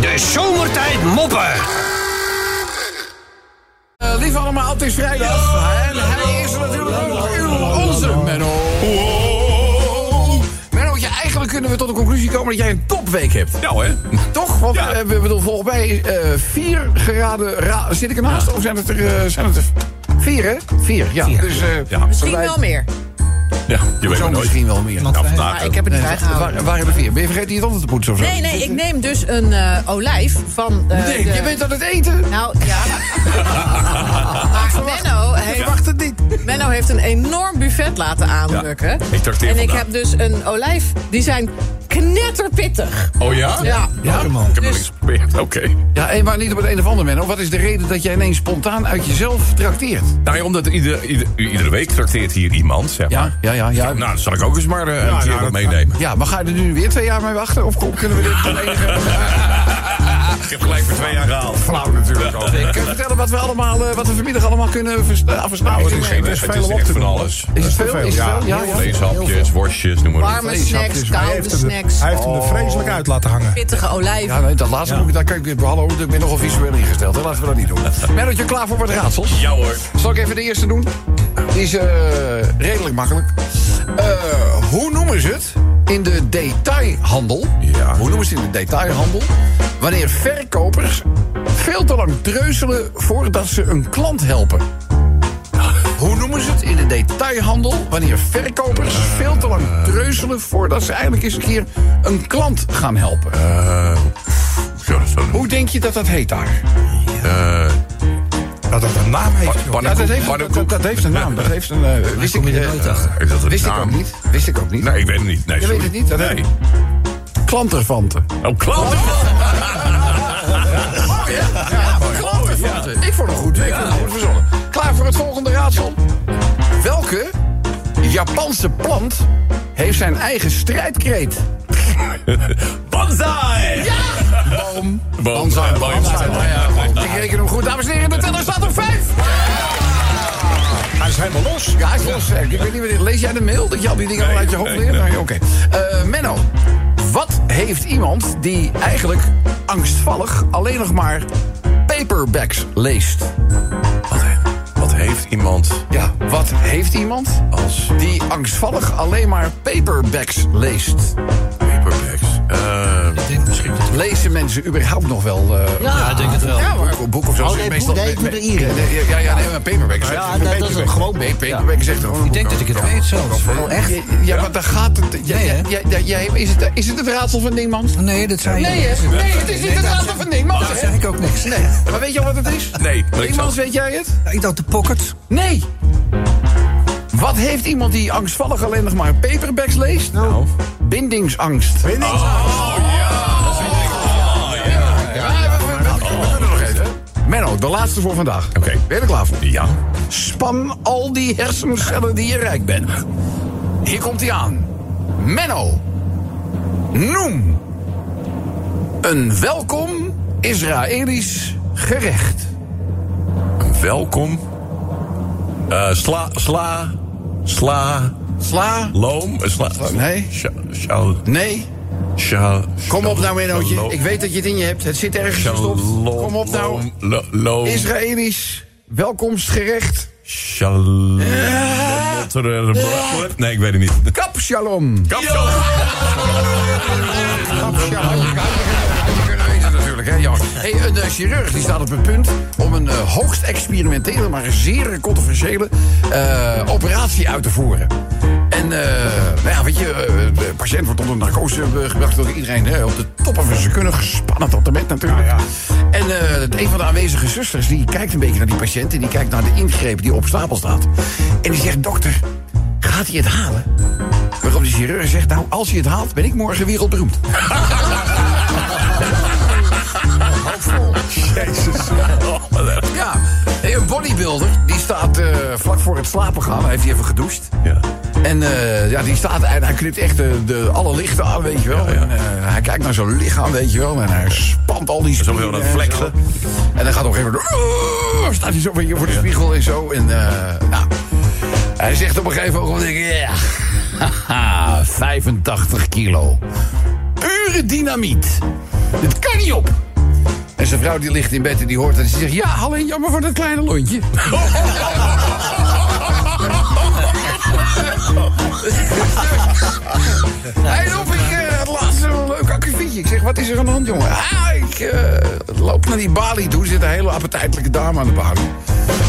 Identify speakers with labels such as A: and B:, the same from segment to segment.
A: De zomertijd moppen.
B: Eh, lieve allemaal, het is vrijdag. En hij is er natuurlijk ook uw, onze Menno. Mennootje, eigenlijk kunnen we tot de conclusie komen dat jij een topweek hebt.
A: Nou hè.
B: Toch? Want
A: Ja.
B: eh, we bedoel, volgens mij eh, vier geraden... ra- Zit ik ernaast? Of zijn het er... eh, zijn het er vier, hè? Vier, ja. Dus, eh,
A: Ja.
C: Misschien
B: wij-
C: wel meer.
A: Ja, je weet
B: Zo
A: maar nooit.
B: misschien wel meer.
A: Nou, vandaag.
C: Maar ik heb het niet bijgehouden.
B: Waar, waar hebben we vier? Ben je vergeten je tanden te poetsen of zo?
C: Nee, nee, ik neem dus een eh, olijf van. eh,
B: Nee,
C: de-
B: je bent aan het eten.
C: Nou ja. maar Menno heeft,
B: Wacht het niet.
C: Menno heeft een enorm buffet laten aanrukken.
A: ik trakteer
C: en ik
A: vandaag.
C: heb dus een olijf. Die zijn knetterpittig.
A: Oh ja?
C: Ja.
B: Ja,
A: Ik heb nog
C: Dus-
A: niks geprobeerd. Oké.
B: Ja, hé, maar niet op het een of ander moment. Wat is de reden dat jij ineens spontaan uit jezelf trakteert?
A: Nou ja, omdat ieder, ieder, u iedere week trakteert hier iemand, zeg
B: Ja,
A: maar.
B: ja, ja, ja.
A: Nou, dan zal ik ook eens maar eh, een keer
B: nou,
A: wat
B: dat-
A: meenemen.
B: Ja, maar ga je er nu weer twee jaar mee wachten? Of kom- kunnen we dit tot enige
A: Ik heb gelijk voor twee jaar gehaald.
B: flauw natuurlijk al? Ik kan vertellen wat we allemaal, eh, wat we vanmiddag allemaal kunnen vers- eh, versnauwen.
A: het is, geen,
B: is,
A: het is echt van alles.
B: het veel? Is het veel? Ja, ja.
A: Vleeshapjes, worstjes, noem maar op.
C: Warme
B: vlees,
C: snacks,
B: hapjes.
D: Nou, Hij
C: koude
D: heeft, hem er,
C: snacks,
D: hij heeft hem
E: Oh.
D: er vreselijk uit laten hangen.
C: pittige
B: Ja,
C: olijven.
B: nee, dat laatste moet ik, daar kan ik weer hallo, ik ben nogal visueel ingesteld. Dat laten we dat niet doen. Merrotje, klaar voor wat raadsels?
A: Ja hoor.
B: Zal ik even de eerste doen? Die is eh, redelijk makkelijk. Eh, hoe noemen ze het in de detailhandel?
A: Ja.
B: Hoe noemen ze het in de detailhandel? Wanneer verkopers veel te lang treuzelen voordat ze een klant helpen. Hoe noemen ze het in de detailhandel? Wanneer verkopers veel te lang treuzelen voordat ze eigenlijk eens een keer een klant gaan helpen.
A: Eh, Zo, dat is wel-
B: Hoe denk je dat dat heet daar?
A: Eh,
D: Dat dat een naam heeft, joh.
B: Ja, dat,
A: pannenkoek,
B: heeft, dat,
A: pannenkoek.
B: dat heeft een naam. Dat heeft een, eh, wist ik,
E: kom je er
B: eh,
E: nooit achter?
A: Heeft dat een
B: wist ik
A: naam?
B: ook niet. Wist ik ook niet.
A: Nee, ik weet het niet. Nee,
B: Je weet het niet? Dat-
A: Nee.
B: Klantervanten.
A: Oh, klanten.
B: Ja, klantervanten. Ik vond het goed. Ik vond het goed verzonnen. Klaar voor het volgende raadsel. Welke Japanse plant heeft zijn eigen strijdkreet?
A: Banzai!
B: Boom.
A: Banzai, banzai.
B: Ik reken hem goed. Dames en heren, de teller staat op vijf.
D: Hij is helemaal los.
B: Ja, hij is los. Ik weet niet wanneer. Lees jij de mail dat je al die dingen
A: Nee,
B: al uit je hoofd
A: nee,
B: leert?
A: nee.
B: Nee, Oké. Eh, Menno, wat heeft iemand die eigenlijk angstvallig alleen nog maar paperbacks leest?
A: Wat, he- wat heeft iemand
B: Ja, wat heeft iemand
A: als
B: die angstvallig alleen maar paperbacks leest?
A: paperbacks? Eh,
E: Ik denk misschien dat
B: Lezen mensen überhaupt nog wel eh
E: Ja, ik denk het wel.
B: boek, boek of zo?
E: Oh,
B: Ze
E: nee,
B: meestal-
E: boek, nee, ik doe de Ieren.
B: Nee, Ja, ja, ja, nee, maar paperbacks. Oh,
E: Ja, dat- dat is een groot
B: Nee,
E: boek.
B: paperback is echt een
E: Ik denk dat ik het weet zelfs.
B: Oh, echt? Ja, maar daar gaat het... Ja,
E: Nee,
B: ja,
E: hè?
B: ja, ja, ja, is, het, is het het raadsel van Dingmans?
E: Nee, dat zei
B: Nee, hè? nee, het is niet het raadsel van Dingmans.
E: Dat zei ik ook niks.
B: Nee. Maar weet je al wat het is?
A: nee, maar ik
B: Dingmans,
A: zou-
B: weet jij het?
E: Ik dacht de pocket.
B: Nee. Wat heeft iemand die angstvallig alleen nog maar paperbacks leest? Nou. Bindingsangst. Oh,
D: Weet niet.
B: Ja, we- we- we- we kunnen er nog even. Menno, de laatste voor vandaag.
A: Oké.
B: Ben je er klaar voor?
A: Ja.
B: Span al die hersencellen die je rijk bent. Hier komt hij aan. Menno. Noem. Een welkom Israëlisch gerecht.
A: Welkom. Eh, sla, sla, sla,
B: Sla.
A: loom. eh, Sla,
B: Nee.
A: Sha, sha,
B: Nee.
A: sha,
B: Kom op nou, Mennootje.
A: shalom-
B: Ik weet dat je het in je hebt. Het zit ergens gestopt.
A: shalom-
B: Kom op nou.
A: lo- Loom.
B: Israëlisch welkomstgerecht.
A: Shalom. Nee, ik weet het niet.
B: Kap shalom.
A: Kap, shalom.
B: Ja, had je- had je- had je kunnen weten natuurlijk, hè, jongen. Hey, een eh, chirurg die staat op het punt om een eh, hoogst experimentele, maar zeer controversiële eh, operatie uit te voeren. En, eh, nou ja, weet je, eh, de patiënt wordt onder narcose eh, gebracht door iedereen hè, op de toppen van zijn kunnen. Gespannen tot de met natuurlijk. En eh, een van de aanwezige zusters die kijkt een beetje naar die patiënt en die kijkt naar de ingreep die op stapel staat. En die zegt: Dokter, gaat hij het halen? Waarop die chirurg zegt: Nou, als hij het haalt, ben ik morgen wereldberoemd.
D: Jezus.
A: Oh,
B: Ja, hey, een bodybuilder die staat eh, vlak voor het slapen gaan. Hij heeft hij even gedoucht.
A: Ja.
B: En eh, ja, die staat en hij knipt echt de, de, alle lichten aan, weet je wel. En, eh, hij kijkt naar zijn lichaam, weet je wel. En hij spant al die
A: is ook heel
B: spieren
A: dat
B: en
A: flexen.
B: zo. En dan gaat op een gegeven moment... Oh, staat hij zo voor je voor de spiegel en zo. En eh, nou, hij zegt op een gegeven moment... denk ik, Ja, haha, 85 kilo. Pure dynamiet. Dit kan niet op. En zijn vrouw die ligt in bed en die hoort dat. En ze zegt, ja, alleen jammer voor dat kleine lontje. Hij op, ik eh, het laatste wel een leuk akkefietje. Ik zeg, wat is er aan de hand, jongen? Ah, ik eh, loop naar die balie toe. Er zit een hele appetijtelijke dame aan de balie.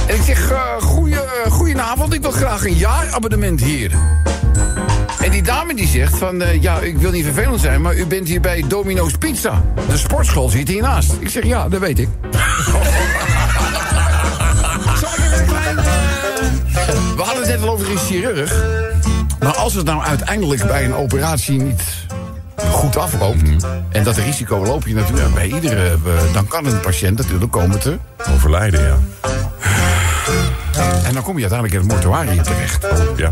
B: En ik zeg, eh goeie, eh, goedenavond. Ik wil graag een jaarabonnement hier. En die dame die zegt van, eh, ja, ik wil niet vervelend zijn... maar u bent hier bij Domino's Pizza. De sportschool zit hiernaast. Ik zeg, ja, dat weet ik. Zal ik even een klein, eh, We hadden het net al over een chirurg. Maar als het nou uiteindelijk bij een operatie niet goed afloopt...
A: Mhm.
B: en dat risico loop je natuurlijk bij iedere... eh, dan kan een patiënt natuurlijk komen te...
A: Overlijden, ja.
B: en dan kom je uiteindelijk in het mortuarium terecht.
A: ja.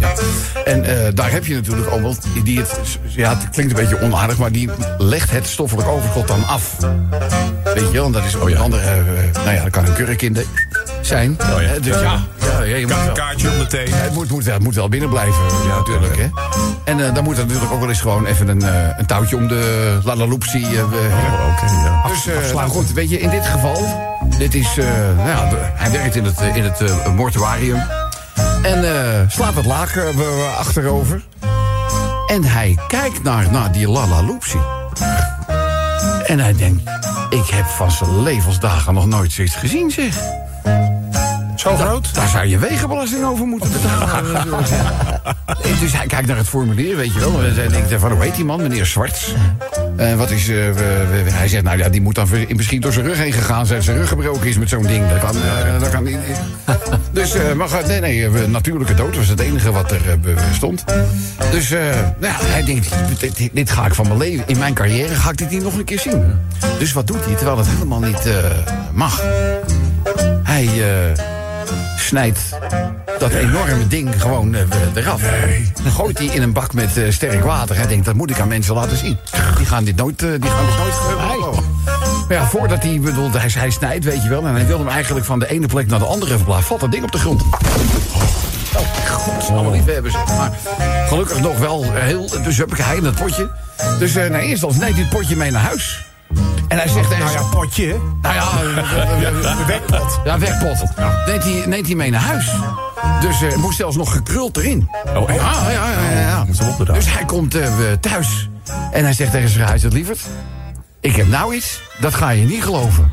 B: En eh, daar heb je natuurlijk ook wel die het, ja, het klinkt een beetje onaardig, maar die legt het stoffelijk overschot dan af. Weet je wel, en dat
A: Oh
B: is ook een andere, eh, nou ja, dat kan een kurkinde zijn.
A: Oh ja.
B: Hè, Dus ja, ja, ja, je moet
A: Ka-
B: wel-
A: kaartje om de thee.
B: het moet, moet, het moet wel binnen blijven, ja, natuurlijk. Hè? En eh, dan moet er natuurlijk ook wel eens gewoon even een, eh, een touwtje om de lalaloopsie. eh, we-
A: Oh, oké, ja.
B: dus, eh, nou goed, weet je, in dit geval... Dit is, eh, nou ja, de- hij werkt in het, eh, in het eh, mortuarium. En eh, slaat het laken eh, we- achterover. En hij kijkt naar, naar die lalaloopsie. En hij denkt, ik heb van zijn levensdagen nog nooit zoiets gezien, zeg.
D: Zo groot?
B: Daar zou je wegenbelasting over moeten betalen. natuurlijk. En dus hij kijkt naar het formulier, weet je wel. En ik denk van, hoe heet die man, meneer Zwarts? Eh, wat is, eh, we- we- we- hij zegt, nou ja, die moet dan ver- misschien door zijn rug heen gegaan zijn. Zijn rug gebroken is met zo'n ding. Dat kan, eh, dat kan niet. Dus, eh, maar goed, nee, nee, eh, natuurlijke dood was het enige wat er eh, be- stond. Dus, eh, nou ja, hij denkt, dit, dit- dit ga ik van mijn leven, in mijn carrière ga ik dit niet nog een keer zien. Dus wat doet hij, terwijl het helemaal niet eh, mag? Hij... eh, snijdt dat enorme ding gewoon eh, eraf. Gooit hij in een bak met eh, sterk water. Hij denkt, dat moet ik aan mensen laten zien. Die gaan dit nooit, eh, die gaan dit nooit gebruiken. Maar ja, voordat hij, bedoel, hij, hij snijdt, weet je wel... en hij wilde hem eigenlijk van de ene plek naar de andere verblazen... valt dat ding op de grond. Oh, god, dat allemaal niet we hebben zeg. Maar gelukkig nog wel heel... Dus heb ik hij in het potje. Dus eh, nou, eerst als neemt hij het potje mee naar huis. En hij zegt tegen
D: Nou ja,
B: zijn-
D: potje.
B: nou ja, wegpot. Ja, wegpot. Neemt hij, neemt hij mee naar huis. Dus eh, moest zelfs nog gekruld erin.
A: Oh, echt?
F: Ah,
B: Ja, ja, ja. ja, ja.
A: Moet ze opdragen.
B: Dus hij komt eh, thuis. En hij zegt tegen zijn huisarts, lieverd... Ik heb nou iets, dat ga je niet geloven.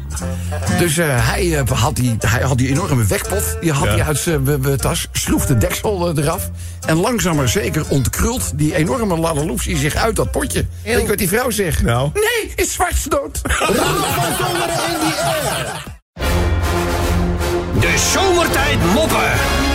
B: Dus eh, hij, eh, had die, hij had die enorme wekpot, die had
A: Ja.
B: hij uit zijn eh, eh, tas, sloeg de deksel eh, eraf... en langzaam maar zeker ontkrult die enorme ladaloepsie zich uit dat potje. Weet je wat die vrouw zegt?
A: Nou?
B: Nee, is zwarts dood.
F: De zomertijd moppen.